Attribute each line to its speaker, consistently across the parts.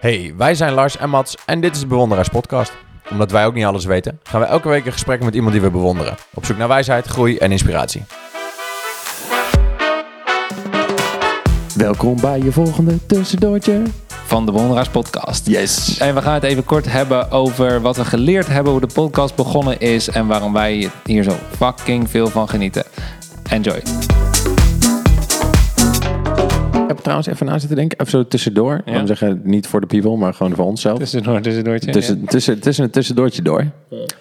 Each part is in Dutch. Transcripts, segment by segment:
Speaker 1: Hey, wij zijn Lars en Mats en dit is de Bewonderaars Podcast. Omdat wij ook niet alles weten, gaan we elke week een gesprek met iemand die we bewonderen. Op zoek naar wijsheid, groei en inspiratie.
Speaker 2: Welkom bij je volgende tussendoortje.
Speaker 3: van de Bewonderaars Podcast.
Speaker 2: Yes.
Speaker 3: En we gaan het even kort hebben over wat we geleerd hebben, hoe de podcast begonnen is en waarom wij hier zo fucking veel van genieten. Enjoy.
Speaker 2: Ik heb trouwens even na zitten denken, even zo tussendoor.
Speaker 3: Ja.
Speaker 2: Laten we zeggen, niet voor de people, maar gewoon voor onszelf.
Speaker 3: Tussendoor, tussendoortje.
Speaker 2: Tussen, tussen, tussen het tussendoortje door.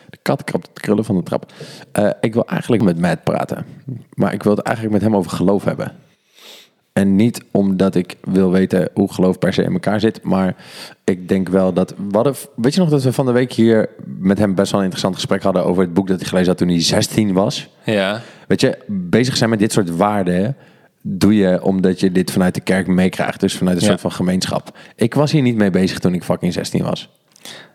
Speaker 2: De kat krabt het krullen van de trap. Eh, ik wil eigenlijk met Matt praten. Maar ik wil het eigenlijk met hem over geloof hebben. En niet omdat ik wil weten hoe geloof per se in elkaar zit. Maar ik denk wel dat... Wat if- weet je nog dat we van de week hier met hem best wel een interessant gesprek hadden... over het boek dat hij gelezen had toen hij 16 was?
Speaker 3: Ja. ja.
Speaker 2: Weet je, bezig zijn met dit soort waarden doe je omdat je dit vanuit de kerk meekrijgt. Dus vanuit een
Speaker 3: Ja.
Speaker 2: soort van gemeenschap. Ik was hier niet mee bezig toen ik fucking 16 was.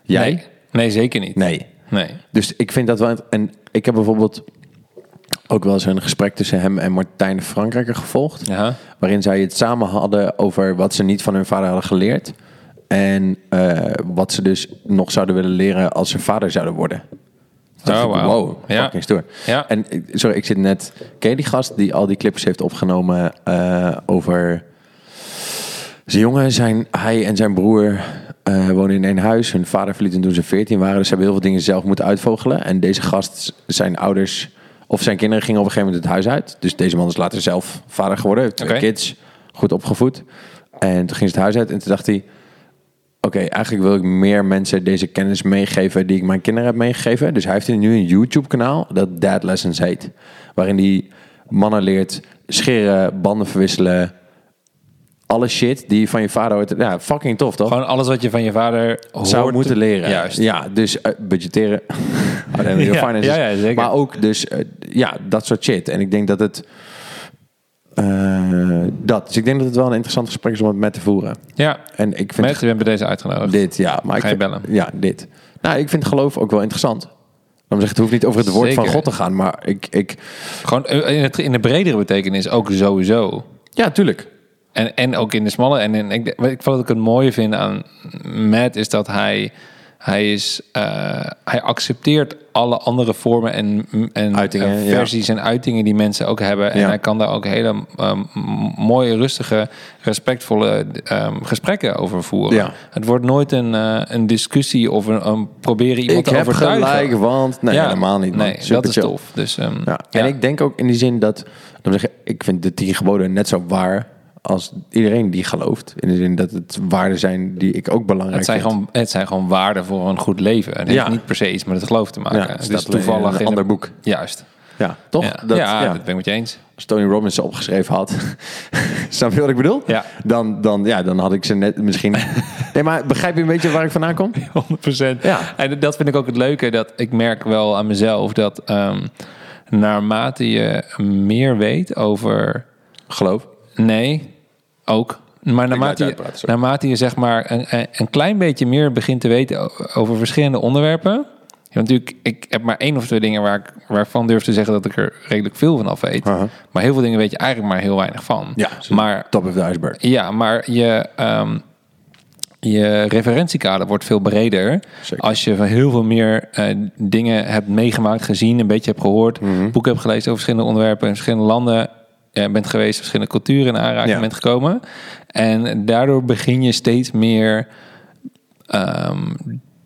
Speaker 2: Jij?
Speaker 3: Nee. Nee, zeker niet.
Speaker 2: Nee.
Speaker 3: Nee.
Speaker 2: Dus ik vind dat wel... En ik heb bijvoorbeeld ook wel eens een gesprek tussen hem en Martijn de Frankrijker gevolgd.
Speaker 3: Ja.
Speaker 2: Waarin zij het samen hadden over wat ze niet van hun vader hadden geleerd. En eh, wat ze dus nog zouden willen leren als ze vader zouden worden. Toen dacht
Speaker 3: Oh,
Speaker 2: ik,
Speaker 3: wauw.
Speaker 2: Wow,
Speaker 3: Ja.
Speaker 2: fucking stoer.
Speaker 3: Ja.
Speaker 2: En ik- sorry, ik zit net... Ken je die gast die al die clips heeft opgenomen eh, over... Zijn jongen, zijn, hij en zijn broer eh, wonen in één huis. Hun vader verliet hen toen ze 14 waren. Dus ze hebben heel veel dingen zelf moeten uitvogelen. En deze gast, zijn ouders of zijn kinderen gingen op een gegeven moment het huis uit. Dus deze man is later zelf vader geworden. Heeft Twee
Speaker 3: Oké.
Speaker 2: kids, goed opgevoed. En toen ging ze het huis uit en toen dacht hij... Oké, eigenlijk wil ik meer mensen deze kennis meegeven die ik mijn kinderen heb meegegeven. Dus hij heeft nu een YouTube-kanaal dat Dad Lessons heet. Waarin hij mannen leert scheren, banden verwisselen, alle shit die je van je vader hoort. Ja, fucking tof toch?
Speaker 3: Gewoon alles wat je van je vader hoort.
Speaker 2: Zou moeten leren.
Speaker 3: Juist.
Speaker 2: Ja, dus eh, budgetteren. Whatever your
Speaker 3: Ja,
Speaker 2: finances.
Speaker 3: ja, ja, zeker.
Speaker 2: Maar ook dus, eh, ja, dat soort shit. En ik denk dat het... eh, dat. Dus ik denk dat het wel een interessant gesprek is om het met te voeren.
Speaker 3: Ja.
Speaker 2: En ik vind
Speaker 3: Met, we hebben deze uitgenodigd.
Speaker 2: dit, ja. Maar ik
Speaker 3: Ga je
Speaker 2: vind-
Speaker 3: bellen?
Speaker 2: Ja, dit. Nou, ik vind geloof ook wel interessant. Dan zeg het hoeft niet over het woord van
Speaker 3: Zeker.
Speaker 2: God te gaan, maar ik, ik...
Speaker 3: Gewoon eh, in, het, in de bredere betekenis ook sowieso.
Speaker 2: Ja, tuurlijk.
Speaker 3: En, en ook in de smalle. En in, ik, wat ik wat ik het mooie vind aan Matt is dat hij, hij, is, eh, hij accepteert alle andere vormen en, en
Speaker 2: Uitingen,
Speaker 3: en
Speaker 2: ja.
Speaker 3: versies en uitingen die mensen ook hebben. En
Speaker 2: Ja.
Speaker 3: hij kan daar ook hele ehm, mooie, rustige, respectvolle ehm, gesprekken over voeren.
Speaker 2: Ja.
Speaker 3: Het wordt nooit een, eh, een discussie of een, een proberen iemand
Speaker 2: Ik
Speaker 3: te
Speaker 2: heb
Speaker 3: overtuigen.
Speaker 2: gelijk, want... Nee,
Speaker 3: Ja.
Speaker 2: helemaal niet. Man.
Speaker 3: Nee,
Speaker 2: Super
Speaker 3: dat is
Speaker 2: chill.
Speaker 3: tof. Dus, ehm,
Speaker 2: Ja.
Speaker 3: ja.
Speaker 2: En ik denk ook in die zin dat, dan zeg ik, ik vind de tien geboden net zo waar als iedereen die gelooft. In de zin dat het waarden zijn die ik ook belangrijk
Speaker 3: Het zijn,
Speaker 2: vind.
Speaker 3: gewoon, het zijn gewoon waarden voor een goed leven. Het heeft
Speaker 2: Ja.
Speaker 3: niet per se iets met het geloof te maken.
Speaker 2: Ja,
Speaker 3: het
Speaker 2: staat
Speaker 3: is toevallig
Speaker 2: alleen in een ander boek.
Speaker 3: Juist.
Speaker 2: Ja, toch?
Speaker 3: ja.
Speaker 2: Dat,
Speaker 3: ja,
Speaker 2: ja,
Speaker 3: dat ben ik met je eens.
Speaker 2: Als Tony Robbins ze opgeschreven had, snap je wat ik bedoel?
Speaker 3: Ja.
Speaker 2: Dan, dan, ja, dan had ik ze net misschien... nee, maar begrijp je een beetje waar ik vandaan kom?
Speaker 3: 100%.
Speaker 2: Ja.
Speaker 3: En dat vind ik ook het leuke. Dat ik merk wel aan mezelf dat ehm, naarmate je meer weet over
Speaker 2: Geloof.
Speaker 3: Nee, ook. Maar
Speaker 2: je
Speaker 3: naarmate je,
Speaker 2: uitpraten, sorry.
Speaker 3: naarmate je zeg maar een, een- een klein beetje meer begint te weten o- over verschillende onderwerpen. Ja, natuurlijk, ik heb maar één of twee dingen waar ik, waarvan durf te zeggen dat ik er redelijk veel van af weet.
Speaker 2: Aha.
Speaker 3: Maar heel veel dingen weet je eigenlijk maar heel weinig van.
Speaker 2: Ja,
Speaker 3: maar,
Speaker 2: Top of the iceberg.
Speaker 3: ja, maar je, ehm, je referentiekader wordt veel breder.
Speaker 2: Zeker.
Speaker 3: Als je van heel veel meer eh, dingen hebt meegemaakt, gezien, een beetje hebt gehoord,
Speaker 2: Mhm.
Speaker 3: boeken hebt gelezen over verschillende onderwerpen in verschillende landen. eh, bent geweest, verschillende culturen in aanraking
Speaker 2: Ja.
Speaker 3: bent gekomen. En daardoor begin je steeds meer ehm,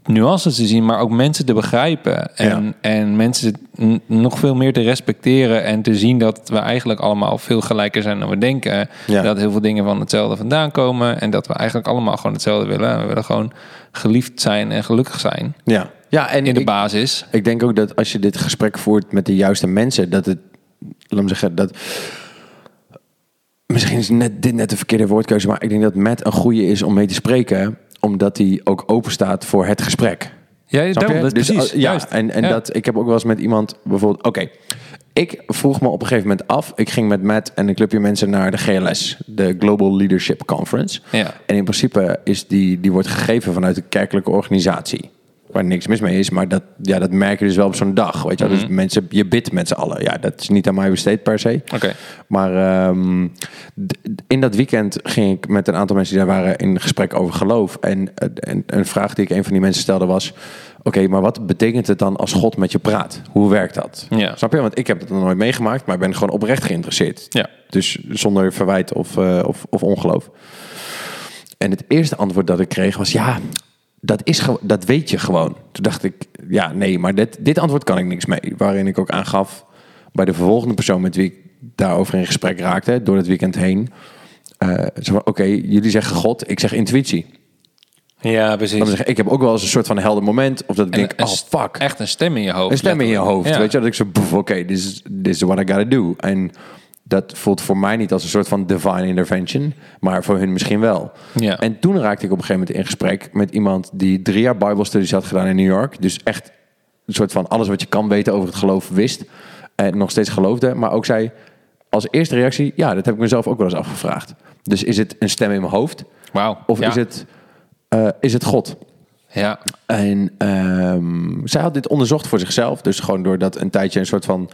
Speaker 3: nuances te zien, maar ook mensen te begrijpen. En, en mensen n- nog veel meer te respecteren en te zien dat we eigenlijk allemaal veel gelijker zijn dan we denken.
Speaker 2: Ja.
Speaker 3: Dat heel veel dingen van hetzelfde vandaan komen en dat we eigenlijk allemaal gewoon hetzelfde willen. We willen gewoon geliefd zijn en gelukkig zijn
Speaker 2: Ja. ja en
Speaker 3: in de
Speaker 2: ik-
Speaker 3: basis.
Speaker 2: Ik denk ook dat als je dit gesprek voert met de juiste mensen, dat het, laat me zeggen, dat. Misschien is net, dit net de verkeerde woordkeuze, maar ik denk dat Matt een goede is om mee te spreken, omdat hij ook open staat voor het gesprek.
Speaker 3: Ja,
Speaker 2: Snap
Speaker 3: daarom,
Speaker 2: je?
Speaker 3: dat,
Speaker 2: Dus,
Speaker 3: precies.
Speaker 2: uh, ja,
Speaker 3: juist.
Speaker 2: en, en
Speaker 3: Ja.
Speaker 2: dat ik heb ook wel eens met iemand bijvoorbeeld. Oké, ik vroeg me op een gegeven moment af. Ik ging met Matt en een clubje mensen naar de GLS, de Global Leadership Conference.
Speaker 3: Ja.
Speaker 2: En in principe is die, die wordt gegeven vanuit een kerkelijke organisatie. Waar niks mis mee is, maar dat, ja, dat merk je dus wel op zo'n dag. Weet je,
Speaker 3: Mhm.
Speaker 2: wel. dus mensen, je bidt met z'n allen. Ja, dat is niet aan mij besteed per se.
Speaker 3: Oké.
Speaker 2: Maar ehm, d- d- in dat weekend ging ik met een aantal mensen die daar waren in gesprek over geloof. En, eh, en een vraag die ik een van die mensen stelde was: Oké, maar wat betekent het dan als God met je praat? Hoe werkt dat?
Speaker 3: Ja.
Speaker 2: Snap je? Want ik heb dat nog nooit meegemaakt, maar ik ben gewoon oprecht geïnteresseerd.
Speaker 3: Ja.
Speaker 2: Dus zonder verwijt of, eh, of, of ongeloof. En het eerste antwoord dat ik kreeg was: ja, dat, is gewo- dat weet je gewoon. Toen dacht ik: ja, nee, maar dit, dit antwoord kan ik niks mee. Waarin ik ook aangaf bij de vervolgende persoon met wie ik daarover in gesprek raakte, door het weekend heen. eh, zo van, Oké, jullie zeggen God, ik zeg intuïtie.
Speaker 3: Ja, precies.
Speaker 2: Dan zeg ik, ik heb ook wel eens een soort van helder moment. Of dat ik
Speaker 3: En
Speaker 2: denk,
Speaker 3: een
Speaker 2: oh
Speaker 3: st-
Speaker 2: fuck.
Speaker 3: Echt een stem in je hoofd.
Speaker 2: Een stem in je
Speaker 3: letterlijk.
Speaker 2: hoofd.
Speaker 3: Ja.
Speaker 2: Weet je, dat ik zo, boef, oké, this, is- this is what I gotta do. En dat voelt voor mij niet als een soort van divine intervention, maar voor hun misschien wel.
Speaker 3: Ja.
Speaker 2: En toen raakte ik op een gegeven moment in gesprek met iemand die drie jaar Bible studies had gedaan in New York. Dus echt een soort van alles wat je kan weten over het geloof wist. En nog steeds geloofde, maar ook zei als eerste reactie, ja, dat heb ik mezelf ook wel eens afgevraagd. Dus is het een stem in mijn hoofd?
Speaker 3: Wauw.
Speaker 2: Of
Speaker 3: Ja.
Speaker 2: is, het, eh, is het God?
Speaker 3: Ja.
Speaker 2: En ehm, zij had dit onderzocht voor zichzelf. Dus gewoon door dat een tijdje een soort van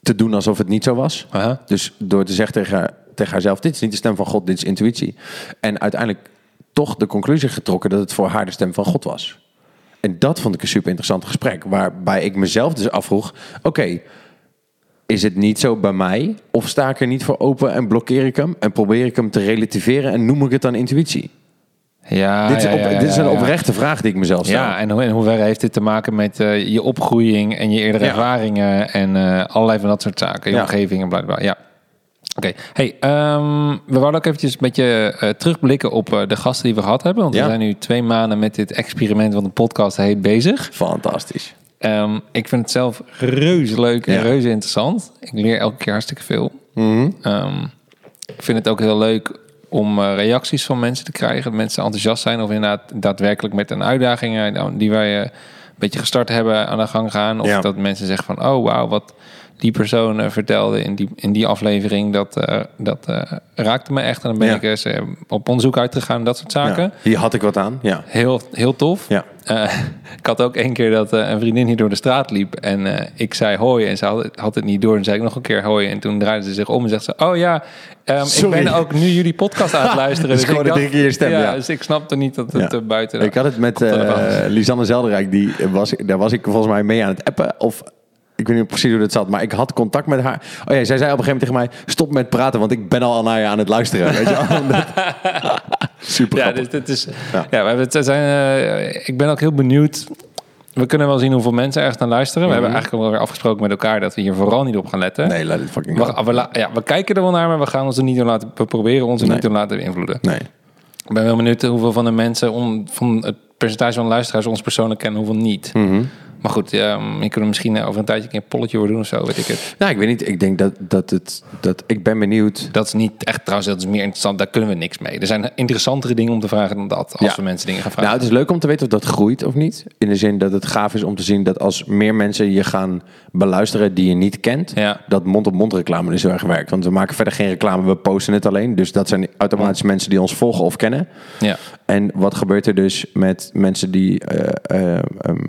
Speaker 2: te doen alsof het niet zo was.
Speaker 3: Aha.
Speaker 2: Dus door te zeggen tegen, haar- tegen haarzelf: Dit is niet de stem van God, dit is intuïtie. En uiteindelijk toch de conclusie getrokken dat het voor haar de stem van God was. En dat vond ik een super interessant gesprek. Waarbij ik mezelf dus afvroeg: Oké. is het niet zo bij mij? Of sta ik er niet voor open en blokkeer ik hem? En probeer ik hem te relativeren en noem ik het dan intuïtie?
Speaker 3: Ja,
Speaker 2: dit, is
Speaker 3: Ah, ja,
Speaker 2: op-
Speaker 3: ja,
Speaker 2: dit is
Speaker 3: ja,
Speaker 2: een
Speaker 3: ja.
Speaker 2: oprechte vraag die ik mezelf stel.
Speaker 3: Ja, en hoe- in hoeverre heeft dit te maken met eh, je opgroeiing en je eerdere
Speaker 2: Ja.
Speaker 3: ervaringen en eh, allerlei van dat soort zaken, je
Speaker 2: Ja.
Speaker 3: omgeving en bla bla. bla. Ja. Oké, hey, ehm, we wilden ook eventjes een beetje eh, terugblikken op eh, de gasten die we gehad hebben. Want
Speaker 2: Ja.
Speaker 3: we zijn nu twee maanden met dit experiment van de podcast heet bezig.
Speaker 2: Fantastisch.
Speaker 3: Ehm, ik vind het zelf reuze leuk en
Speaker 2: Ja. Mhm.
Speaker 3: reuze interessant. Ik leer elke keer hartstikke veel. Ehm, ik vind het ook heel leuk om eh, reacties van mensen te krijgen. Dat mensen enthousiast zijn of inderdaad daadwerkelijk met een uitdaging eh, nou, die wij eh, een beetje gestart hebben aan de gang gaan. Of
Speaker 2: Ja.
Speaker 3: dat mensen zeggen van, oh wauw, wat die persoon eh, vertelde in die, in die aflevering. Dat, eh, dat eh, raakte me echt. En dan ben
Speaker 2: Ja.
Speaker 3: ik eens eh, op onderzoek uitgegaan en dat soort zaken.
Speaker 2: Ja. Hier had ik wat aan. Ja.
Speaker 3: Heel, heel tof.
Speaker 2: Ja.
Speaker 3: Eh, ik had ook één keer dat eh, een vriendin hier door de straat liep. En eh, ik zei hoi. En ze had, het- had het niet door. En zei ik nog een keer hoi. En toen draaide ze zich om en zegt ze... Oh ja, ehm, ik
Speaker 2: Sorry.
Speaker 3: ben ook nu jullie podcast aan het luisteren.
Speaker 2: Dus gewoon
Speaker 3: ik
Speaker 2: de
Speaker 3: dacht-
Speaker 2: drie keer je stem, ja.
Speaker 3: Dus ik snapte niet dat het
Speaker 2: Ja.
Speaker 3: eh, buiten...
Speaker 2: Ik had het met
Speaker 3: op de
Speaker 2: eh, Lisanne Zelderijk. Die was, daar was ik volgens mij mee aan het appen. Of ik weet niet precies hoe dat zat. Maar ik had contact met haar. Oh ja, zij zei op een gegeven moment tegen mij... Stop met praten, want ik ben al naar je aan het luisteren. Weet je wel? Omdat- Super
Speaker 3: Ja,
Speaker 2: grappig.
Speaker 3: dus dit is. Ja,
Speaker 2: Ja.
Speaker 3: we hebben het zijn. eh, ik ben ook heel benieuwd. We kunnen wel zien hoeveel mensen ergens naar luisteren. We hebben eigenlijk wel weer afgesproken met elkaar dat we hier vooral niet op gaan letten.
Speaker 2: Mhm. Nee, laat het fucking gaan.
Speaker 3: We, we la- ja, we kijken er wel naar, maar we gaan ons er niet door laten. We proberen ons er
Speaker 2: Nee.
Speaker 3: niet door laten beïnvloeden.
Speaker 2: Nee.
Speaker 3: Ik ben wel benieuwd hoeveel van de mensen om, van het percentage van de luisteraars ons persoonlijk kennen, hoeveel niet.
Speaker 2: Mhm.
Speaker 3: Maar goed, ehm je kunt er misschien eh, over een tijdje een keer een polletje voor doen of zo, weet ik het.
Speaker 2: Nou, ik weet niet. Ik denk dat, dat het... Dat, ik ben benieuwd.
Speaker 3: Dat is niet echt trouwens, dat is meer interessant. Daar kunnen we niks mee. Er zijn interessantere dingen om te vragen dan dat. Als
Speaker 2: Ja.
Speaker 3: we mensen dingen gaan vragen.
Speaker 2: Nou, het is leuk om te weten of dat groeit of niet. In de zin dat het gaaf is om te zien dat als meer mensen je gaan beluisteren die je niet kent,
Speaker 3: Ja.
Speaker 2: dat mond-op-mond reclame dus heel erg werkt. Want we maken verder geen reclame, we posten het alleen. Dus dat zijn automatisch mensen die ons volgen of kennen.
Speaker 3: ja.
Speaker 2: En wat gebeurt er dus met mensen die. eh, eh, ehm,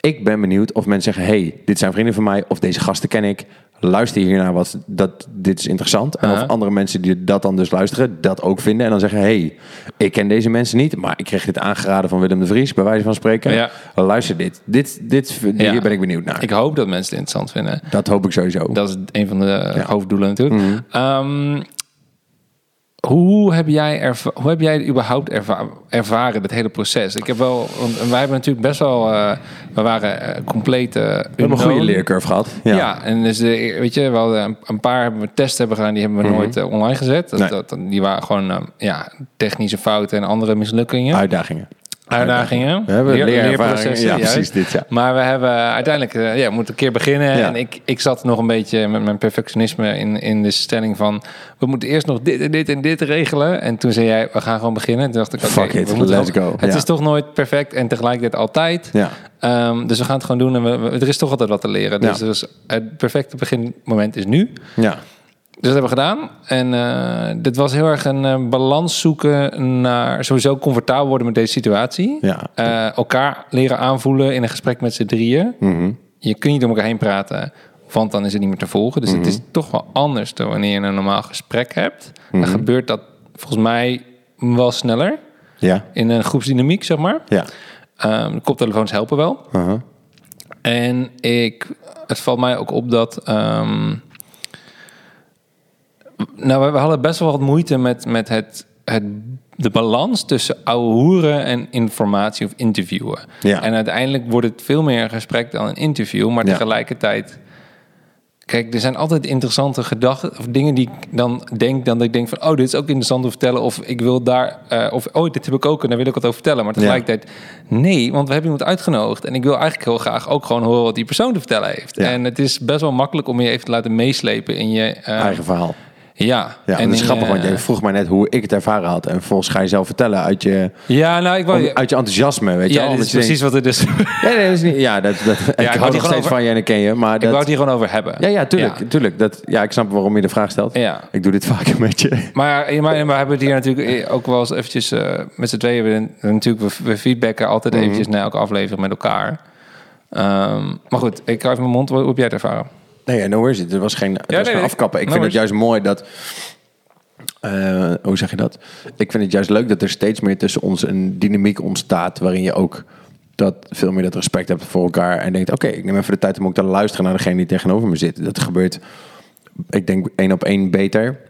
Speaker 2: ik ben benieuwd of mensen zeggen: hey, dit zijn vrienden van mij of deze gasten ken ik. Luister hiernaar, wat, dat, dit is interessant. En
Speaker 3: Aha.
Speaker 2: of andere mensen die dat dan dus luisteren, dat ook vinden. En dan zeggen: hey, ik ken deze mensen niet, maar ik kreeg dit aangeraden van Willem de Vries, bij wijze van spreken.
Speaker 3: Ja.
Speaker 2: Luister dit. dit, dit
Speaker 3: Ja.
Speaker 2: Hier ben ik benieuwd naar.
Speaker 3: Ik hoop dat mensen het interessant vinden.
Speaker 2: dat hoop ik sowieso.
Speaker 3: Dat is een van de hoofddoelen natuurlijk.
Speaker 2: Mhm.
Speaker 3: Ehm, hoe, heb jij erva- hoe heb jij überhaupt erva- ervaren dit hele proces? Ik heb wel, want wij hebben natuurlijk best wel, eh, we waren eh, compleet. eh,
Speaker 2: we hebben een goede
Speaker 3: unknown.
Speaker 2: leercurve gehad.
Speaker 3: Ja. en dus de, weet je, we hadden een, een paar hebben we tests hebben gedaan, die hebben we nooit eh, online gezet. Dat,
Speaker 2: Mhm. Nee.
Speaker 3: dat, die waren gewoon eh, ja, technische fouten en andere mislukkingen.
Speaker 2: Uitdagingen.
Speaker 3: Uitdagingen.
Speaker 2: We hebben
Speaker 3: Leer-
Speaker 2: leerervaringen. Ja,
Speaker 3: juist.
Speaker 2: precies dit, ja.
Speaker 3: Maar we hebben uiteindelijk, eh, ja, we moeten een keer beginnen.
Speaker 2: Ja.
Speaker 3: En ik, ik zat nog een beetje met mijn perfectionisme in, in de stelling van... we moeten eerst nog dit en dit en dit regelen. En toen zei jij, we gaan gewoon beginnen. Toen dacht ik, oké,
Speaker 2: Fuck it,
Speaker 3: we moeten
Speaker 2: let's
Speaker 3: gewoon-
Speaker 2: go.
Speaker 3: Het
Speaker 2: Ja.
Speaker 3: is toch nooit perfect en tegelijkertijd altijd.
Speaker 2: Ja.
Speaker 3: Ehm, dus we gaan het gewoon doen. En we, we- er is toch altijd wat te leren. Dus
Speaker 2: Ja.
Speaker 3: er is- het perfecte beginmoment is nu.
Speaker 2: Ja.
Speaker 3: Dus dat hebben we gedaan. En eh, dit was heel erg een eh, balans zoeken naar sowieso comfortabel worden met deze situatie.
Speaker 2: Ja.
Speaker 3: Eh, elkaar leren aanvoelen in een gesprek met z'n drieën.
Speaker 2: Mhm.
Speaker 3: Je kunt niet om elkaar heen praten, want dan is het niet meer te volgen. Dus
Speaker 2: Mhm.
Speaker 3: het is toch wel anders dan wanneer je een normaal gesprek hebt.
Speaker 2: Mhm.
Speaker 3: Dan gebeurt dat volgens mij wel sneller
Speaker 2: Ja.
Speaker 3: in een groepsdynamiek, zeg maar.
Speaker 2: Ja.
Speaker 3: Ehm, de koptelefoons helpen wel.
Speaker 2: Uh-huh.
Speaker 3: En ik, het valt mij ook op dat. ehm, nou, we, we hadden best wel wat moeite met, met het, het, de balans tussen ouwe hoeren en informatie of interviewen.
Speaker 2: Ja.
Speaker 3: En uiteindelijk wordt het veel meer een gesprek dan een interview, maar
Speaker 2: Ja.
Speaker 3: tegelijkertijd. Kijk, er zijn altijd interessante gedachten of dingen die ik dan denk, dan dat ik denk van, oh, dit is ook interessant om te vertellen, of ik wil daar, eh, of oh, dit heb ik ook en daar wil ik wat over vertellen. Maar tegelijkertijd, nee, want we hebben iemand uitgenodigd en ik wil eigenlijk heel graag ook gewoon horen wat die persoon te vertellen heeft.
Speaker 2: Ja.
Speaker 3: En het is best wel makkelijk om je even te laten meeslepen in je eh,
Speaker 2: Eigen verhaal.
Speaker 3: ja.
Speaker 2: Ja, en
Speaker 3: en
Speaker 2: dat is
Speaker 3: in eh,
Speaker 2: grappig,
Speaker 3: je-
Speaker 2: want jij vroeg mij net hoe ik het ervaren had. En volgens ga je zelf vertellen uit je,
Speaker 3: Ja, nou, ik wou.
Speaker 2: uit je enthousiasme, weet je
Speaker 3: Ja,
Speaker 2: wel.
Speaker 3: dit is
Speaker 2: Omdat je denkt-
Speaker 3: precies wat het is.
Speaker 2: Nee, nee, dat is niet... Ja, dat, dat,
Speaker 3: wou
Speaker 2: ik
Speaker 3: die
Speaker 2: hou nog
Speaker 3: gewoon
Speaker 2: steeds
Speaker 3: over-
Speaker 2: van je en ik ken je, maar
Speaker 3: Ik wou het
Speaker 2: dat...
Speaker 3: hier gewoon over hebben.
Speaker 2: Ja, ja, tuurlijk,
Speaker 3: Ja.
Speaker 2: tuurlijk. Dat, ja, ik snap waarom je de vraag stelt.
Speaker 3: Ja.
Speaker 2: Ik doe dit vaker met je.
Speaker 3: Maar, maar, maar hebben we het hier natuurlijk ook wel eens eventjes eh, met z'n tweeën. We, natuurlijk, we, we feedbacken altijd
Speaker 2: Mhm.
Speaker 3: eventjes na elke aflevering met elkaar. Ehm, maar goed, ik hou even mijn mond. Hoe heb jij het ervaren?
Speaker 2: Nee, ja, no is it. Er was geen, er was
Speaker 3: Ja, nee,
Speaker 2: geen
Speaker 3: nee.
Speaker 2: afkappen. Ik
Speaker 3: No
Speaker 2: vind het
Speaker 3: worries.
Speaker 2: juist mooi dat... eh, hoe zeg je dat? Ik vind het juist leuk dat er steeds meer tussen ons een dynamiek ontstaat... waarin je ook dat, veel meer dat respect hebt voor elkaar... en denkt, oké, ik neem even de tijd om ook te luisteren... naar degene die tegenover me zit. Dat gebeurt, ik denk, één op één beter.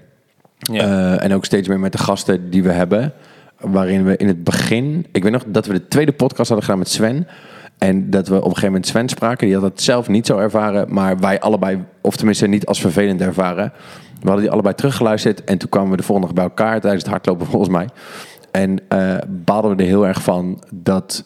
Speaker 2: Eh, en ook steeds meer met de gasten die we hebben. Waarin we in het begin. Ik weet nog dat we de tweede podcast hadden gedaan met Sven. En dat we op een gegeven moment Sven spraken. Die had het zelf niet zo ervaren. Maar wij allebei, of tenminste niet als vervelend ervaren. We hadden die allebei teruggeluisterd. En toen kwamen we de volgende dag bij elkaar tijdens het hardlopen, volgens mij. En eh baalden we er heel erg van dat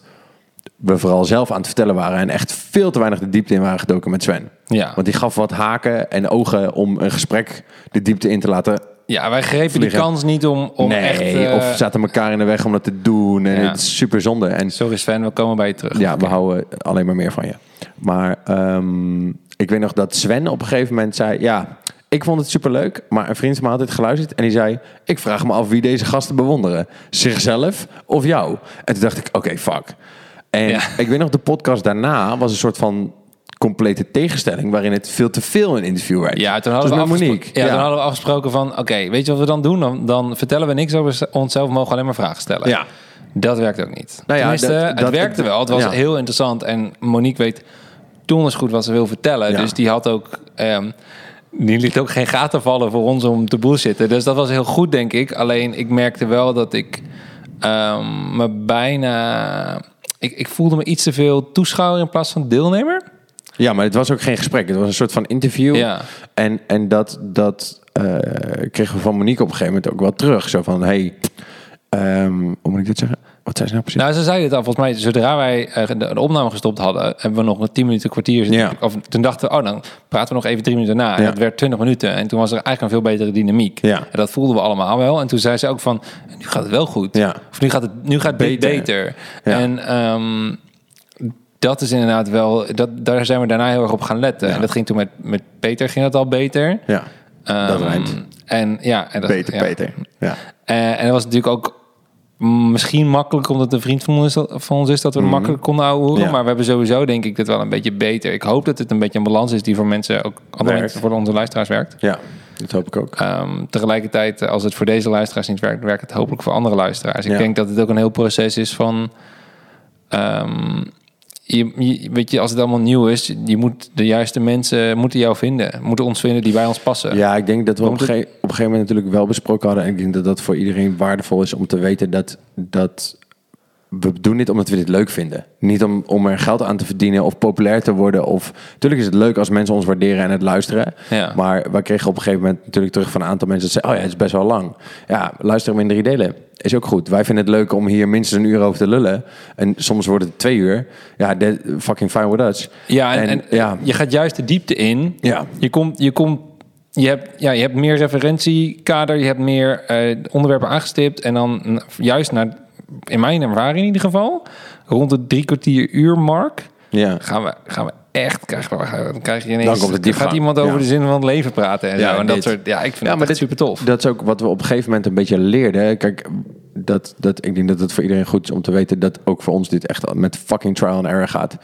Speaker 2: we vooral zelf aan het vertellen waren. En echt veel te weinig de diepte in waren gedoken met Sven.
Speaker 3: Ja.
Speaker 2: Want die gaf wat haken en ogen om een gesprek de diepte in te laten
Speaker 3: Ja, wij grepen
Speaker 2: Vliegen.
Speaker 3: die kans niet om, om
Speaker 2: nee,
Speaker 3: echt... eh,
Speaker 2: of zaten elkaar in de weg om dat te doen. En
Speaker 3: Ja.
Speaker 2: het is super zonde. En
Speaker 3: Sorry Sven, we komen bij je terug.
Speaker 2: ja, we houden alleen maar meer van je. Maar ehm, ik weet nog dat Sven op een gegeven moment zei... Ja, ik vond het super leuk, maar een vriend van me had dit geluisterd. En die zei, ik vraag me af wie deze gasten bewonderen. Zichzelf of jou? En toen dacht ik, oké, fuck. En
Speaker 3: Ja.
Speaker 2: ik weet nog, de podcast daarna was een soort van complete tegenstelling... waarin het veel te veel een interview werd.
Speaker 3: Ja, toen hadden,
Speaker 2: Zoals
Speaker 3: we
Speaker 2: met
Speaker 3: afgespro-
Speaker 2: Monique.
Speaker 3: ja, toen hadden we afgesproken van... Oké, weet je wat we dan doen? Dan, dan vertellen we niks over onszelf, mogen we alleen maar vragen stellen.
Speaker 2: Ja.
Speaker 3: Dat werkt ook niet.
Speaker 2: Nou ja,
Speaker 3: Tenminste,
Speaker 2: dat-
Speaker 3: het
Speaker 2: dat-
Speaker 3: werkte wel. Het was
Speaker 2: ja.
Speaker 3: heel interessant. En Monique weet toen is goed wat ze wil vertellen.
Speaker 2: Ja.
Speaker 3: Dus die had ook... ehm, die liet ook geen gaten vallen voor ons om te bullshitten. Dus dat was heel goed, denk ik. Alleen ik merkte wel dat ik ehm, me bijna... Ik, ik voelde me iets te veel toeschouwer in plaats van deelnemer.
Speaker 2: Ja, maar het was ook geen gesprek. Het was een soort van interview.
Speaker 3: Ja.
Speaker 2: En, en dat, dat eh, kregen we van Monique op een gegeven moment ook wel terug. Zo van, hey, ehm, hoe moet ik dit zeggen? Wat zei ze nou precies?
Speaker 3: Nou, ze zei het al. Volgens mij, zodra wij eh, de, de opname gestopt hadden, hebben we nog een 10 minuten kwartier. zitten-
Speaker 2: Ja.
Speaker 3: Of toen dachten we, oh, dan praten we nog even drie minuten na. En
Speaker 2: Ja.
Speaker 3: dat werd 20 minuten. En toen was er eigenlijk een veel betere dynamiek.
Speaker 2: Ja.
Speaker 3: En dat voelden we allemaal wel. En toen zei ze ook van, nu gaat het wel goed.
Speaker 2: Ja.
Speaker 3: Of nu gaat het nu gaat dit
Speaker 2: Beter.
Speaker 3: beter.
Speaker 2: Ja.
Speaker 3: En ehm, dat is inderdaad wel, dat, daar zijn we daarna heel erg op gaan letten. En dat ging toen met, met Peter, ging dat al beter.
Speaker 2: ja, dat
Speaker 3: Ehm,
Speaker 2: rijmt.
Speaker 3: En ja, en dat,
Speaker 2: Beter,
Speaker 3: ja.
Speaker 2: beter. Ja.
Speaker 3: Eh, en dat was natuurlijk ook mm, misschien makkelijk, omdat het een vriend van ons is, van ons is dat we hem makkelijk konden ouwehoeren.
Speaker 2: Mhm. Ja.
Speaker 3: Maar we hebben sowieso, denk ik, dit wel een beetje beter. Ik hoop dat het een beetje een balans is die voor mensen, ook andere
Speaker 2: Werkt.
Speaker 3: mensen, voor onze luisteraars werkt.
Speaker 2: ja, dat hoop ik ook.
Speaker 3: Ehm, tegelijkertijd, als het voor deze luisteraars niet werkt, werkt het hopelijk voor andere luisteraars. Ik
Speaker 2: Ja.
Speaker 3: denk dat het ook een heel proces is van. ehm, je, je- weet je, als het allemaal nieuw is, je moet de juiste mensen moeten jou vinden, moeten ons vinden die bij ons passen.
Speaker 2: Ja, ik denk dat we op een,
Speaker 3: Komt het-
Speaker 2: gege- op een gegeven moment natuurlijk wel besproken hadden. En ik denk dat dat voor iedereen waardevol is om te weten dat, dat we doen dit omdat we dit leuk vinden. Niet om, om er geld aan te verdienen of populair te worden. Of natuurlijk is het leuk als mensen ons waarderen en het luisteren.
Speaker 3: Ja.
Speaker 2: Maar wij kregen op een gegeven moment natuurlijk terug van een aantal mensen dat zeiden: Oh ja, het is best wel lang. Ja, luister hem in drie delen. Is ook goed. Wij vinden het leuk om hier minstens een uur over te lullen. En soms wordt het twee uur. Ja, that- fucking fine with us.
Speaker 3: Ja, en, en
Speaker 2: ja.
Speaker 3: je gaat juist de diepte in.
Speaker 2: Ja.
Speaker 3: Je komt, je komt, je hebt, ja, je hebt meer referentiekader, je hebt meer eh, onderwerpen aangestipt en dan n- juist naar, in mijn ervaring in ieder geval, rond de drie kwartier uur mark
Speaker 2: ja.
Speaker 3: gaan we, gaan we echt krijg, dan krijg je ineens...
Speaker 2: Dan komt de diepgang.
Speaker 3: gaat iemand over
Speaker 2: Ja.
Speaker 3: de zin van het leven praten en
Speaker 2: Ja,
Speaker 3: zo. En dat
Speaker 2: dit.
Speaker 3: soort, ja, ik vind dat
Speaker 2: maar
Speaker 3: echt
Speaker 2: dit-
Speaker 3: super tof.
Speaker 2: Dat is ook wat we op een gegeven moment een beetje leerden. hè. Kijk, dat, dat, ik denk dat het voor iedereen goed is om te weten dat ook voor ons dit echt met fucking trial and error gaat.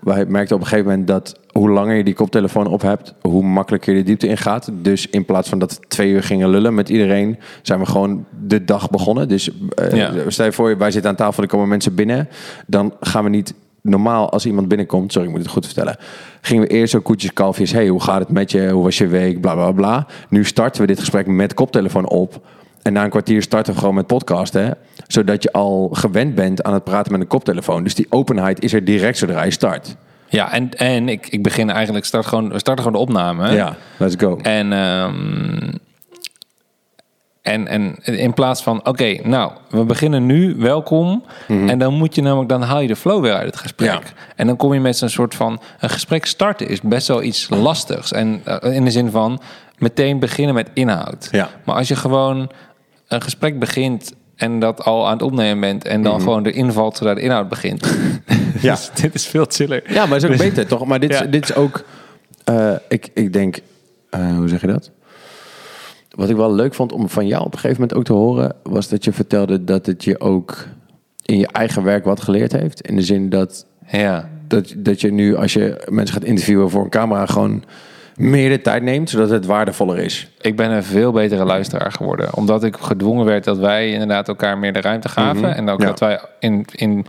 Speaker 2: Wij merkten op een gegeven moment dat hoe langer je die koptelefoon op hebt, hoe makkelijker je de diepte in gaat. Dus in plaats van dat we twee uur gingen lullen met iedereen, zijn we gewoon de dag begonnen. Dus eh,
Speaker 3: Ja.
Speaker 2: stel je voor, wij zitten aan tafel, er komen mensen binnen. Dan gaan we niet normaal als iemand binnenkomt, sorry, ik moet het goed vertellen. Gingen we eerst zo koetjes, kalfjes, hey, hoe gaat het met je? Hoe was je week? Bla bla bla. Nu starten we dit gesprek met koptelefoon op. En na een kwartier starten we gewoon met podcasten. Zodat je al gewend bent aan het praten met een koptelefoon. Dus die openheid is er direct zodra je start.
Speaker 3: Ja, en, en ik, ik begin eigenlijk, start gewoon, we starten gewoon de opname.
Speaker 2: Ja, let's go.
Speaker 3: En, ehm, en, en in plaats van, oké, nou, we beginnen nu, welkom. En dan moet je namelijk, dan haal je de flow weer uit het gesprek.
Speaker 2: Mhm. Ja.
Speaker 3: En dan kom je met zo'n soort van, een gesprek starten is best wel iets lastigs. En eh, in de zin van, meteen beginnen met inhoud.
Speaker 2: Ja.
Speaker 3: Maar als je gewoon een gesprek begint en dat al aan het opnemen bent... en
Speaker 2: Mhm.
Speaker 3: dan gewoon erin valt zodra de inhoud begint.
Speaker 2: Ja.
Speaker 3: Dus dit is veel chiller.
Speaker 2: Ja, maar is ook beter, toch? Maar dit,
Speaker 3: Dus- Ja.
Speaker 2: is, dit is ook... eh, ik, ik denk... eh, hoe zeg je dat? Wat ik wel leuk vond om van jou op een gegeven moment ook te horen... was dat je vertelde dat het je ook in je eigen werk wat geleerd heeft. In de zin dat,
Speaker 3: Ja.
Speaker 2: dat, dat je nu als je mensen gaat interviewen voor een camera... gewoon meer de tijd neemt, zodat het waardevoller is.
Speaker 3: Ik ben een veel betere luisteraar geworden. Omdat ik gedwongen werd dat wij inderdaad elkaar meer de ruimte gaven. En ook
Speaker 2: ja.
Speaker 3: dat wij in, in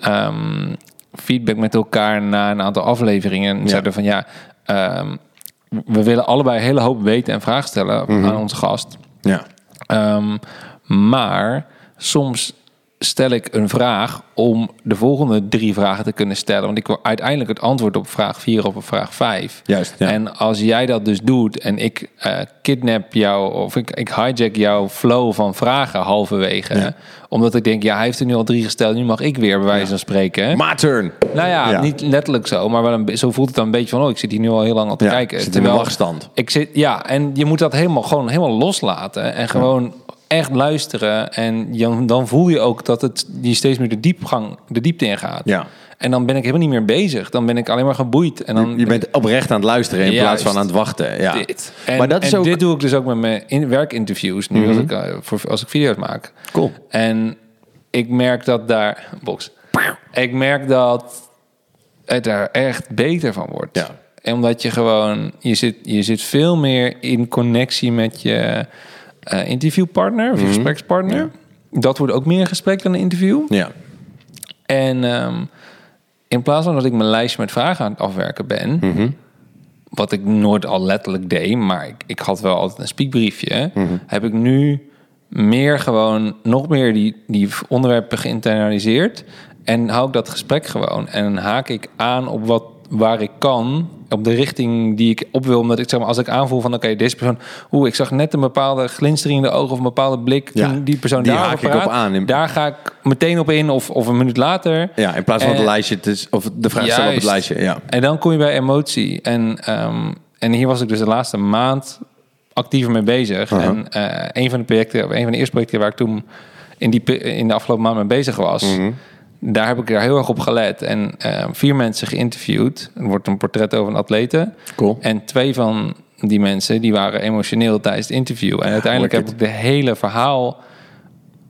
Speaker 3: ehm, feedback met elkaar na een aantal afleveringen zeiden van ja, ehm, we willen allebei een hele hoop weten en vragen stellen aan onze gast.
Speaker 2: Ja.
Speaker 3: Ehm, maar soms stel ik een vraag om de volgende drie vragen te kunnen stellen. Want ik wil uiteindelijk het antwoord op vraag 4 of op vraag 5.
Speaker 2: Juist, ja.
Speaker 3: En als jij dat dus doet en ik eh, kidnap jou of ik, ik hijack jouw flow van vragen halverwege. Omdat ik denk, ja, hij heeft er nu al drie gesteld, nu mag ik weer bij wijze van spreken.
Speaker 2: Maarten!
Speaker 3: Nou ja,
Speaker 2: Ja.
Speaker 3: niet letterlijk zo, maar wel een, be- zo voelt het dan een beetje van... oh, ik zit hier nu al heel lang al te
Speaker 2: Ja,
Speaker 3: kijken.
Speaker 2: zit in de wachtstand.
Speaker 3: Ik zit, ja, en je moet dat helemaal, gewoon helemaal loslaten en gewoon echt luisteren. En jan- dan voel je ook dat het, je steeds meer de, diepgang, de diepte ingaat.
Speaker 2: Ja.
Speaker 3: En dan ben ik helemaal niet meer bezig. Dan ben ik alleen maar geboeid. En dan
Speaker 2: Je bent oprecht aan het luisteren in plaats
Speaker 3: Juist.
Speaker 2: van aan het wachten. Ja.
Speaker 3: dit. En,
Speaker 2: maar dat is
Speaker 3: en
Speaker 2: ook... Mhm.
Speaker 3: dit doe ik dus ook met mijn in werkinterviews nu als, ik, eh, voor, als ik video's maak.
Speaker 2: Cool.
Speaker 3: En ik merk dat daar... Box. Ik merk dat het daar echt beter van wordt.
Speaker 2: Ja.
Speaker 3: En omdat je gewoon... Je zit, je zit veel meer in connectie met je eh, interviewpartner
Speaker 2: Mhm.
Speaker 3: of je gesprekspartner. Dat wordt ook meer een gesprek dan een interview.
Speaker 2: Ja.
Speaker 3: En ehm, in plaats van dat ik mijn lijstje met vragen aan het afwerken ben,
Speaker 2: Mhm.
Speaker 3: wat ik nooit al letterlijk deed, maar ik, ik had wel altijd een speakbriefje,
Speaker 2: Mhm.
Speaker 3: heb ik nu meer gewoon nog meer die, die onderwerpen geïnternaliseerd en hou ik dat gesprek gewoon en haak ik aan op wat waar ik kan op de richting die ik op wil, omdat ik zeg maar als ik aanvoel van oké deze persoon, hoe ik zag net een bepaalde glinstering in de ogen of een bepaalde blik,
Speaker 2: Ja,
Speaker 3: toen die persoon
Speaker 2: die
Speaker 3: daar
Speaker 2: haak ik op aan. In-
Speaker 3: daar ga ik meteen op in of, of een minuut later.
Speaker 2: ja, in plaats van het
Speaker 3: En-
Speaker 2: lijstje, te s- of de vraag stellen op het
Speaker 3: Juist.
Speaker 2: lijstje. Ja.
Speaker 3: En dan kom je bij emotie. En, ehm, en hier was ik dus de laatste maand actiever mee bezig. En eh, een van de projecten, of een van de eerste projecten waar ik toen in, die, pe- in de afgelopen maand mee bezig was,
Speaker 2: Mhm.
Speaker 3: daar heb ik er heel erg op gelet. En eh, vier mensen geïnterviewd. Er wordt een portret over een atlete.
Speaker 2: Cool.
Speaker 3: En twee van die mensen die waren emotioneel tijdens het interview. En uiteindelijk heb ik de hele verhaal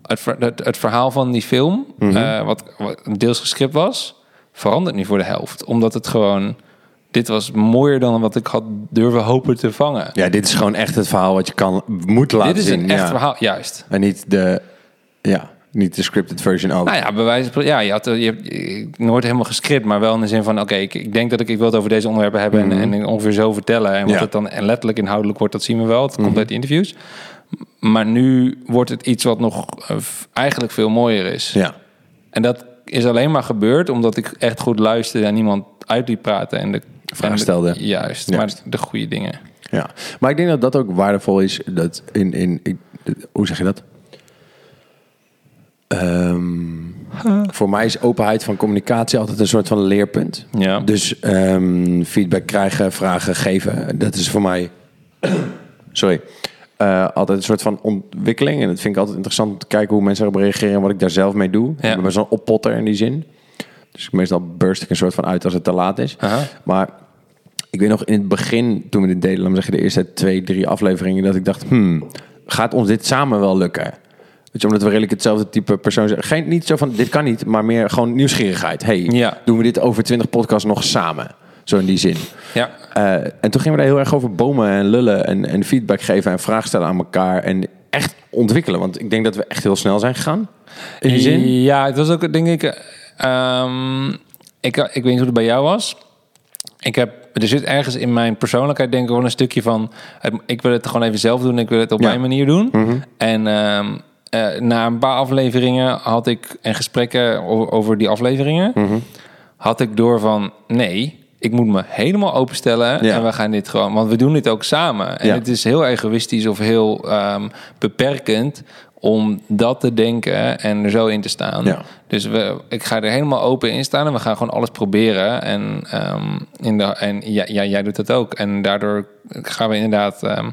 Speaker 3: het, ver- het, het verhaal van die film,
Speaker 2: Mhm.
Speaker 3: eh, wat, wat deels gescript was, verandert nu voor de helft. Omdat het gewoon. Dit was mooier dan wat ik had durven hopen te vangen.
Speaker 2: Ja, dit is gewoon echt het verhaal wat je kan, moet laten
Speaker 3: dit is
Speaker 2: zien.
Speaker 3: een echt
Speaker 2: ja.
Speaker 3: verhaal, juist.
Speaker 2: En niet de, ja, niet de scripted version ook.
Speaker 3: Nou ja, bij wijze van- ja, je had eh, je hebt eh, nooit helemaal gescript, maar wel in de zin van: oké, ik, ik denk dat ik, ik wil het over deze onderwerpen hebben en- en, ongeveer zo vertellen. En wat
Speaker 2: Mhm. Ja. Mhm.
Speaker 3: het dan letterlijk inhoudelijk wordt, dat zien we wel. Het komt uit de interviews. Maar nu wordt het iets wat nog eh, f- eigenlijk veel mooier is.
Speaker 2: Ja.
Speaker 3: En dat is alleen maar gebeurd omdat ik echt goed luisterde en niemand uit liet praten. En de
Speaker 2: Vraag
Speaker 3: en de-
Speaker 2: stelde. Juist.
Speaker 3: Juist, maar de goede dingen.
Speaker 2: ja, maar ik denk dat dat ook waardevol is. Dat in, in, ik- hoe zeg je dat? Ehm, Voor mij is openheid van communicatie altijd een soort van leerpunt.
Speaker 3: Ja.
Speaker 2: Dus ehm, feedback krijgen, vragen geven. Dat is voor mij sorry, Eh, altijd een soort van ontwikkeling. En dat vind ik altijd interessant om te kijken hoe mensen erop reageren en wat ik daar zelf mee doe.
Speaker 3: Ja.
Speaker 2: Ik ben zo'n oppotter in die zin. Dus meestal burst ik een soort van uit als het te laat is.
Speaker 3: Aha.
Speaker 2: Maar ik weet nog in het begin, toen we dit deden, laat maar zeggen de eerste twee, drie afleveringen, dat ik dacht, hmm, gaat ons dit samen wel lukken? Weet je, omdat we redelijk hetzelfde type persoon zijn. Geen, niet zo van, dit kan niet, maar meer gewoon nieuwsgierigheid. Hey,
Speaker 3: Ja.
Speaker 2: doen we dit over twintig podcasts nog samen? Zo in die zin.
Speaker 3: Ja.
Speaker 2: Eh, en toen gingen we daar heel erg over bomen en lullen en, en feedback geven en vragen stellen aan elkaar. En echt ontwikkelen. Want ik denk dat we echt heel snel zijn gegaan. In
Speaker 3: Eh,
Speaker 2: die zin.
Speaker 3: Ja, het was ook, denk ik, eh, ehm, ik... Ik weet niet hoe het bij jou was. Ik heb, er zit ergens in mijn persoonlijkheid denk ik wel een stukje van... het- Ik wil het gewoon even zelf doen, ik wil het op
Speaker 2: Ja. Mhm.
Speaker 3: mijn manier doen. En ehm, eh, na een paar afleveringen had ik... en gesprekken o- over die afleveringen...
Speaker 2: Mhm.
Speaker 3: had ik door van, nee, ik moet me helemaal openstellen...
Speaker 2: Ja.
Speaker 3: en we gaan dit gewoon... want we doen dit ook samen. En
Speaker 2: Ja.
Speaker 3: het is heel egoïstisch of heel ehm, beperkend... om dat te denken en er zo in te staan.
Speaker 2: Ja.
Speaker 3: Dus we, ik ga er helemaal open in staan en we gaan gewoon alles proberen. En, ehm, in de, en ja, ja, jij doet dat ook. En daardoor gaan we inderdaad. ehm,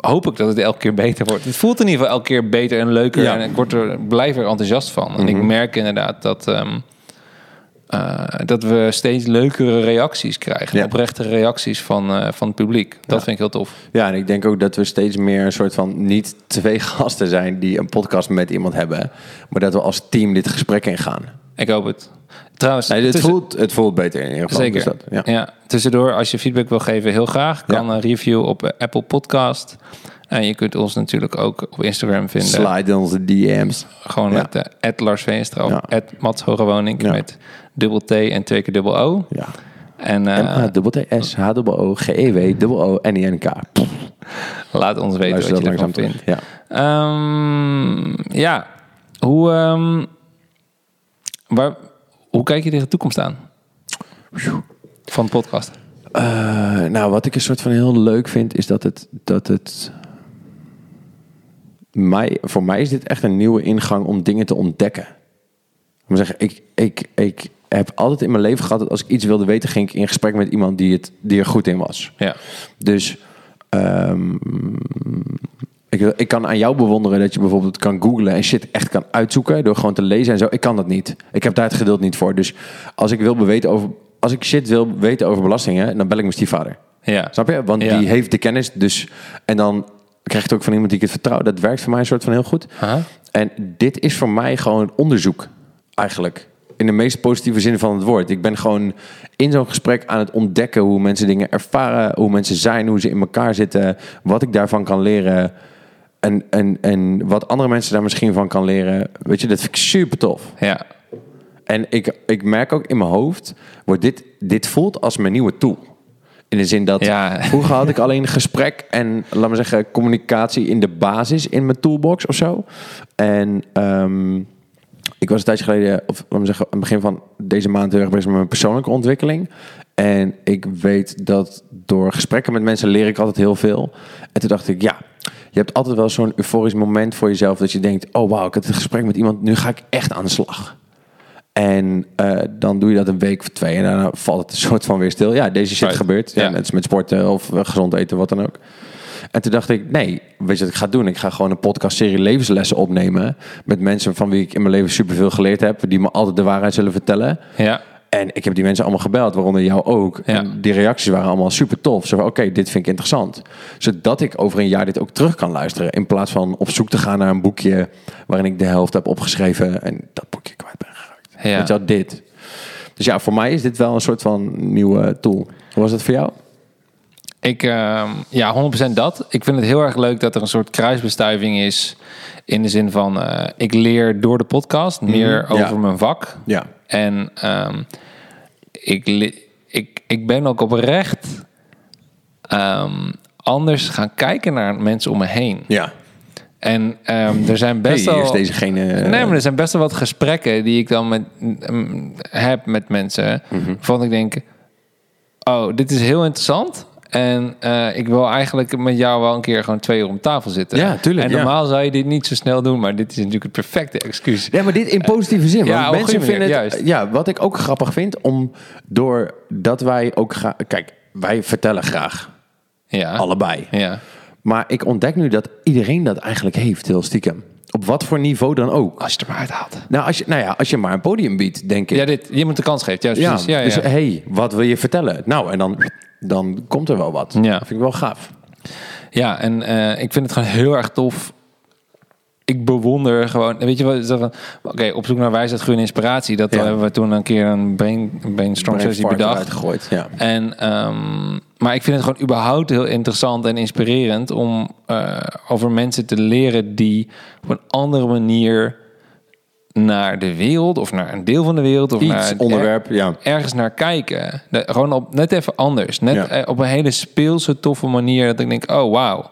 Speaker 3: hoop ik dat het elke keer beter wordt. Het voelt in ieder geval elke keer beter en leuker.
Speaker 2: Ja. Mhm.
Speaker 3: En ik word er, blijf er enthousiast van. En ik merk inderdaad dat. ehm, eh, dat we steeds leukere reacties krijgen.
Speaker 2: Ja.
Speaker 3: Oprechte reacties van, eh, van het publiek. Dat vind ik heel tof.
Speaker 2: Ja, en ik denk ook dat we steeds meer een soort van niet twee gasten zijn die een podcast met iemand hebben. Maar dat we als team dit gesprek ingaan.
Speaker 3: Ik hoop het. Trouwens,
Speaker 2: Nee, het,
Speaker 3: tussen-
Speaker 2: voelt, het voelt beter in ieder geval. Dus
Speaker 3: Zeker.
Speaker 2: dat,
Speaker 3: ja.
Speaker 2: ja.
Speaker 3: Tussendoor, als je feedback wil geven, heel graag. Kan
Speaker 2: Ja.
Speaker 3: een review op eh, Apple Podcast. En je kunt ons natuurlijk ook op Instagram vinden.
Speaker 2: Slide in onze DM's.
Speaker 3: Gewoon
Speaker 2: Ja.
Speaker 3: met eh, at Lars Veenstra of
Speaker 2: Ja.
Speaker 3: at Mats Hogewoning
Speaker 2: Ja.
Speaker 3: met dubbel T en twee keer dubbel O.
Speaker 2: Ja.
Speaker 3: En eh,
Speaker 2: M-A-T-S, H-O-O, G-E-W, E O, N-I-N-K.
Speaker 3: laat ons weten
Speaker 2: Luister
Speaker 3: wat
Speaker 2: dat
Speaker 3: je ervan
Speaker 2: langzaam terug.
Speaker 3: vindt.
Speaker 2: Ja.
Speaker 3: Ehm, ja, hoe, ehm, waar, hoe kijk je tegen de toekomst aan? Van de podcast.
Speaker 2: Eh, nou, wat ik een soort van heel leuk vind, is dat het. Dat het mij, voor mij is dit echt een nieuwe ingang om dingen te ontdekken. Ik moet zeggen, ik, ik, ik heb altijd in mijn leven gehad dat als ik iets wilde weten, ging ik in gesprek met iemand die, het, die er goed in was.
Speaker 3: Ja.
Speaker 2: Dus ehm, ik, ik kan aan jou bewonderen dat je bijvoorbeeld kan googlen en shit echt kan uitzoeken door gewoon te lezen en zo. Ik kan dat niet. Ik heb daar het geduld niet voor. Dus als ik wil beweten over, als ik shit wil weten over belastingen, dan bel ik mijn stiefvader.
Speaker 3: ja.
Speaker 2: Snap je? Want
Speaker 3: Ja.
Speaker 2: die heeft de kennis. Dus, en dan krijg je het ook van iemand die ik het vertrouw. Dat werkt voor mij een soort van heel goed.
Speaker 3: Aha.
Speaker 2: En dit is voor mij gewoon onderzoek, eigenlijk. In de meest positieve zin van het woord. Ik ben gewoon in zo'n gesprek aan het ontdekken hoe mensen dingen ervaren, hoe mensen zijn, hoe ze in elkaar zitten, wat ik daarvan kan leren. En, en, en wat andere mensen daar misschien van kan leren. Weet je, dat vind ik super tof.
Speaker 3: Ja.
Speaker 2: En ik, ik merk ook in mijn hoofd, wordt dit, dit voelt als mijn nieuwe tool. In de zin dat
Speaker 3: Ja.
Speaker 2: vroeger had ik alleen gesprek en, laat maar zeggen, communicatie in de basis in mijn toolbox of zo. En ehm, ik was een tijdje geleden, eh, of laat maar zeggen, aan het begin van deze maand heel erg bezig met mijn persoonlijke ontwikkeling. En ik weet dat door gesprekken met mensen leer ik altijd heel veel. En toen dacht ik, ja, je hebt altijd wel zo'n euforisch moment voor jezelf dat je denkt, oh wauw, ik had een gesprek met iemand, nu ga ik echt aan de slag. En eh, dan doe je dat een week of twee en daarna valt het een soort van weer stil. Ja, deze shit
Speaker 3: Right.
Speaker 2: gebeurt. Ja,
Speaker 3: Ja.
Speaker 2: Net als Dus met sporten of eh, gezond eten, wat dan ook. En toen dacht ik, nee, weet je wat ik ga doen? Ik ga gewoon een podcastserie levenslessen opnemen met mensen van wie ik in mijn leven superveel geleerd heb, die me altijd de waarheid zullen vertellen.
Speaker 3: Ja.
Speaker 2: En ik heb die mensen allemaal gebeld, waaronder jou ook.
Speaker 3: Ja.
Speaker 2: En die reacties waren allemaal super tof. Zo van, oké, dit vind ik interessant. Zodat ik over een jaar dit ook terug kan luisteren. In plaats van op zoek te gaan naar een boekje waarin ik de helft heb opgeschreven en dat boekje kwijt ben geraakt.
Speaker 3: Ja.
Speaker 2: Weet je wel, dit. Dus ja, voor mij is dit wel een soort van nieuwe tool. Hoe was dat voor jou?
Speaker 3: Ik, ehm, ja, 100% dat. Ik vind het heel erg leuk dat er een soort kruisbestuiving is. In de zin van, eh, ik leer door de podcast meer over
Speaker 2: ja.
Speaker 3: mijn vak.
Speaker 2: Ja.
Speaker 3: En ehm, ik, le- ik, ik ben ook oprecht ehm, anders gaan kijken naar mensen om me heen.
Speaker 2: Ja.
Speaker 3: En ehm, er zijn
Speaker 2: Hey,
Speaker 3: best wel...
Speaker 2: hier is deze geen, eh,
Speaker 3: Nee, maar er zijn best wel wat gesprekken die ik dan met, mm, heb met mensen.
Speaker 2: Mhm.
Speaker 3: Van ik denk, oh, dit is heel interessant. En eh, ik wil eigenlijk met jou wel een keer gewoon twee uur om tafel zitten.
Speaker 2: Ja, tuurlijk,
Speaker 3: En
Speaker 2: ja.
Speaker 3: normaal zou je dit niet zo snel doen, maar dit is natuurlijk het perfecte excuus.
Speaker 2: Ja, maar dit in positieve zin.
Speaker 3: Eh, Ja,
Speaker 2: Want
Speaker 3: op een
Speaker 2: mensen
Speaker 3: goede
Speaker 2: vinden
Speaker 3: manier,
Speaker 2: het,
Speaker 3: juist.
Speaker 2: Ja, wat ik ook grappig vind, om doordat wij ook gaan... Kijk, wij vertellen graag.
Speaker 3: Ja.
Speaker 2: Allebei.
Speaker 3: Ja.
Speaker 2: Maar ik ontdek nu dat iedereen dat eigenlijk heeft, heel stiekem. Op op wat voor niveau dan ook.
Speaker 3: Als je het er maar uithaalt.
Speaker 2: Nou, als je, nou ja, als je maar een podium biedt, denk ik.
Speaker 3: Ja, dit, je moet de kans geven. Juist,
Speaker 2: Ja,
Speaker 3: precies. Ja, ja.
Speaker 2: dus hey, wat wil je vertellen? Nou, en dan, dan komt er wel wat.
Speaker 3: Ja.
Speaker 2: Dat vind ik wel gaaf.
Speaker 3: Ja, en eh, ik vind het gewoon heel erg tof. Ik bewonder gewoon, weet je wat? Oké, op zoek naar wijsheid, groei en inspiratie. Dat
Speaker 2: Ja.
Speaker 3: hebben we toen een keer een brain, brainstorm sessie
Speaker 2: Braveheart
Speaker 3: bedacht.
Speaker 2: eruit gegooid. Ja.
Speaker 3: En, ehm, maar ik vind het gewoon überhaupt heel interessant en inspirerend om eh, over mensen te leren die op een andere manier naar de wereld of naar een deel van de wereld of
Speaker 2: Iets,
Speaker 3: naar er-
Speaker 2: onderwerp, ja.
Speaker 3: ergens naar kijken. De- gewoon op net even anders, net
Speaker 2: Ja.
Speaker 3: eh, op een hele speelse toffe manier dat ik denk, oh wauw,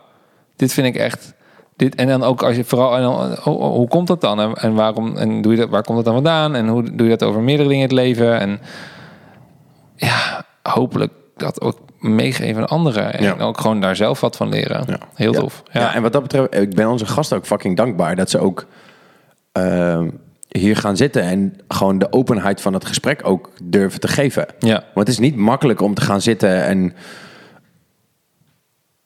Speaker 3: dit vind ik echt. Dit, en dan ook als je vooral en dan, oh, oh, hoe komt dat dan en, en waarom en doe je dat, waar komt dat dan vandaan en hoe doe je dat over meerdere dingen in het leven en ja, hopelijk dat ook meegeven aan anderen. En
Speaker 2: Ja.
Speaker 3: ook gewoon daar zelf wat van leren.
Speaker 2: Ja.
Speaker 3: Heel
Speaker 2: Ja.
Speaker 3: tof.
Speaker 2: Ja. en wat dat betreft, ik ben onze gasten ook fucking dankbaar dat ze ook ehm, hier gaan zitten en gewoon de openheid van het gesprek ook durven te geven.
Speaker 3: Ja.
Speaker 2: Want het is niet makkelijk om te gaan zitten en.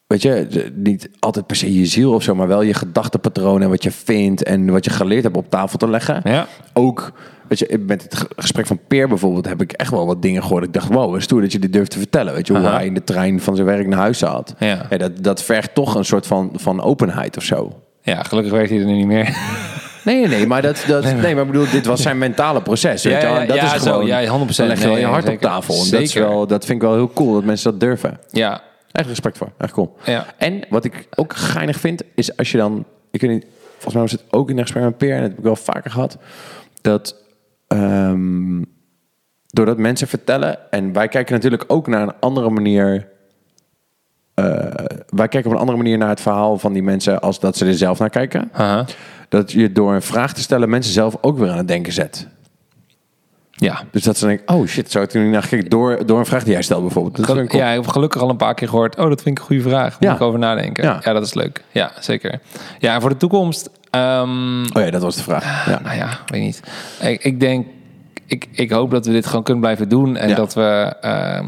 Speaker 2: Weet je, de- niet altijd per se je ziel of zo, maar wel je gedachtenpatronen en wat je vindt en wat je geleerd hebt op tafel te leggen.
Speaker 3: Ja.
Speaker 2: Ook, weet je, met het ge- gesprek van Peer bijvoorbeeld heb ik echt wel wat dingen gehoord. Ik dacht, wow, wat stoer dat je dit durft te vertellen. Weet je, hoe
Speaker 3: Aha.
Speaker 2: hij in de trein van zijn werk naar huis zat.
Speaker 3: Ja.
Speaker 2: dat, dat vergt toch een soort van, van openheid of zo.
Speaker 3: Ja, gelukkig werkt hij er nu niet meer.
Speaker 2: Nee, nee, nee, maar dat, dat, nee, maar ik bedoel, dit was zijn mentale proces. Weet
Speaker 3: Ja,
Speaker 2: je wel?
Speaker 3: ja,
Speaker 2: En dat
Speaker 3: ja,
Speaker 2: is
Speaker 3: zo,
Speaker 2: gewoon,
Speaker 3: ja, 100%.
Speaker 2: Dan leg je wel
Speaker 3: Nee,
Speaker 2: je hart
Speaker 3: zeker.
Speaker 2: op tafel. En dat, is
Speaker 3: Zeker.
Speaker 2: wel, dat vind ik wel heel cool dat mensen dat durven.
Speaker 3: ja.
Speaker 2: Echt respect voor. Echt cool.
Speaker 3: Ja.
Speaker 2: En wat ik ook geinig vind, is als je dan... Ik weet niet, volgens mij was het ook in een gesprek met Peer... en dat heb ik wel vaker gehad... dat ehm, doordat mensen vertellen... en wij kijken natuurlijk ook naar een andere manier... eh, wij kijken op een andere manier naar het verhaal van die mensen... als dat ze er zelf naar kijken.
Speaker 3: Aha.
Speaker 2: Dat je door een vraag te stellen... mensen zelf ook weer aan het denken zet.
Speaker 3: Ja.
Speaker 2: Dus dat ze denken, oh shit, zou ik toen niet naar gekeken... Door, door een vraag die jij stelt bijvoorbeeld. Dat is een
Speaker 3: Gelu- ja, ik heb gelukkig al een paar keer gehoord. Oh, dat vind ik een goede vraag. Moet
Speaker 2: Ja.
Speaker 3: ik over nadenken. Ja.
Speaker 2: Ja.
Speaker 3: dat is leuk. Ja, zeker. Ja, en voor de toekomst. ehm,
Speaker 2: Oh ja, dat was de vraag. Ja.
Speaker 3: Nou ja, weet niet. Ik, ik denk, ik, ik hoop dat we dit gewoon kunnen blijven doen. En
Speaker 2: Ja.
Speaker 3: dat we, ehm,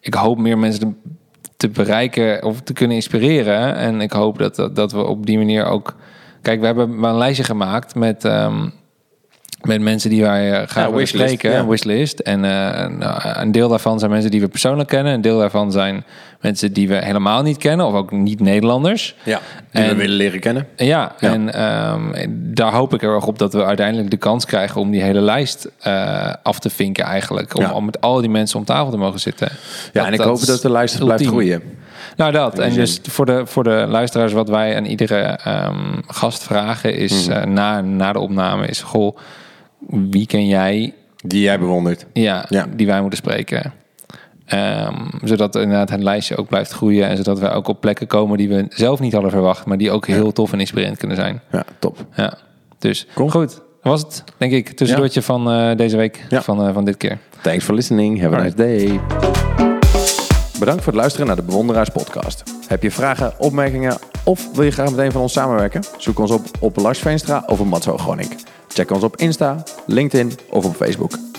Speaker 3: ik hoop meer mensen te, te bereiken of te kunnen inspireren. En ik hoop dat, dat, dat we op die manier ook... Kijk, we hebben maar een lijstje gemaakt met, ehm, met mensen die wij eh, graag willen
Speaker 2: wishlist,
Speaker 3: spreken.
Speaker 2: ja.
Speaker 3: Een wishlist. En eh, een, een deel daarvan zijn mensen die we persoonlijk kennen. Een deel daarvan zijn mensen die we helemaal niet kennen. Of ook niet Nederlanders.
Speaker 2: Ja,
Speaker 3: die we En-
Speaker 2: willen leren kennen.
Speaker 3: Ja,
Speaker 2: Ja.
Speaker 3: en ehm, daar hoop ik heel erg op dat we uiteindelijk de kans krijgen om die hele lijst eh, af te vinken eigenlijk. Om,
Speaker 2: Ja.
Speaker 3: om met al die mensen om tafel te mogen zitten.
Speaker 2: Ja, en ik hoop dat de lijst blijft groeien.
Speaker 3: Nou dat, en dus voor de, voor de luisteraars wat wij aan iedere ehm, gast vragen is
Speaker 2: Mhm.
Speaker 3: eh, na, na de opname is... Goh, wie ken jij
Speaker 2: Die jij bewondert.
Speaker 3: ja,
Speaker 2: Ja.
Speaker 3: die wij moeten spreken. Ehm, zodat inderdaad het lijstje ook blijft groeien. En zodat wij ook op plekken komen die we zelf niet hadden verwacht. Maar die ook heel tof en inspirerend kunnen zijn.
Speaker 2: Ja, top.
Speaker 3: Ja. Dus
Speaker 2: Cool.
Speaker 3: goed. Dat was het, denk ik. Tussendoortje van eh, deze week.
Speaker 2: Ja.
Speaker 3: Van, eh, van dit keer.
Speaker 2: Thanks for listening. Have a nice day. Bedankt voor het luisteren naar de Bewonderaars podcast. Heb je vragen, opmerkingen of wil je graag met een van ons samenwerken? Zoek ons op op Lars Veenstra of op Mats Groning. Check ons op Insta, LinkedIn of op Facebook.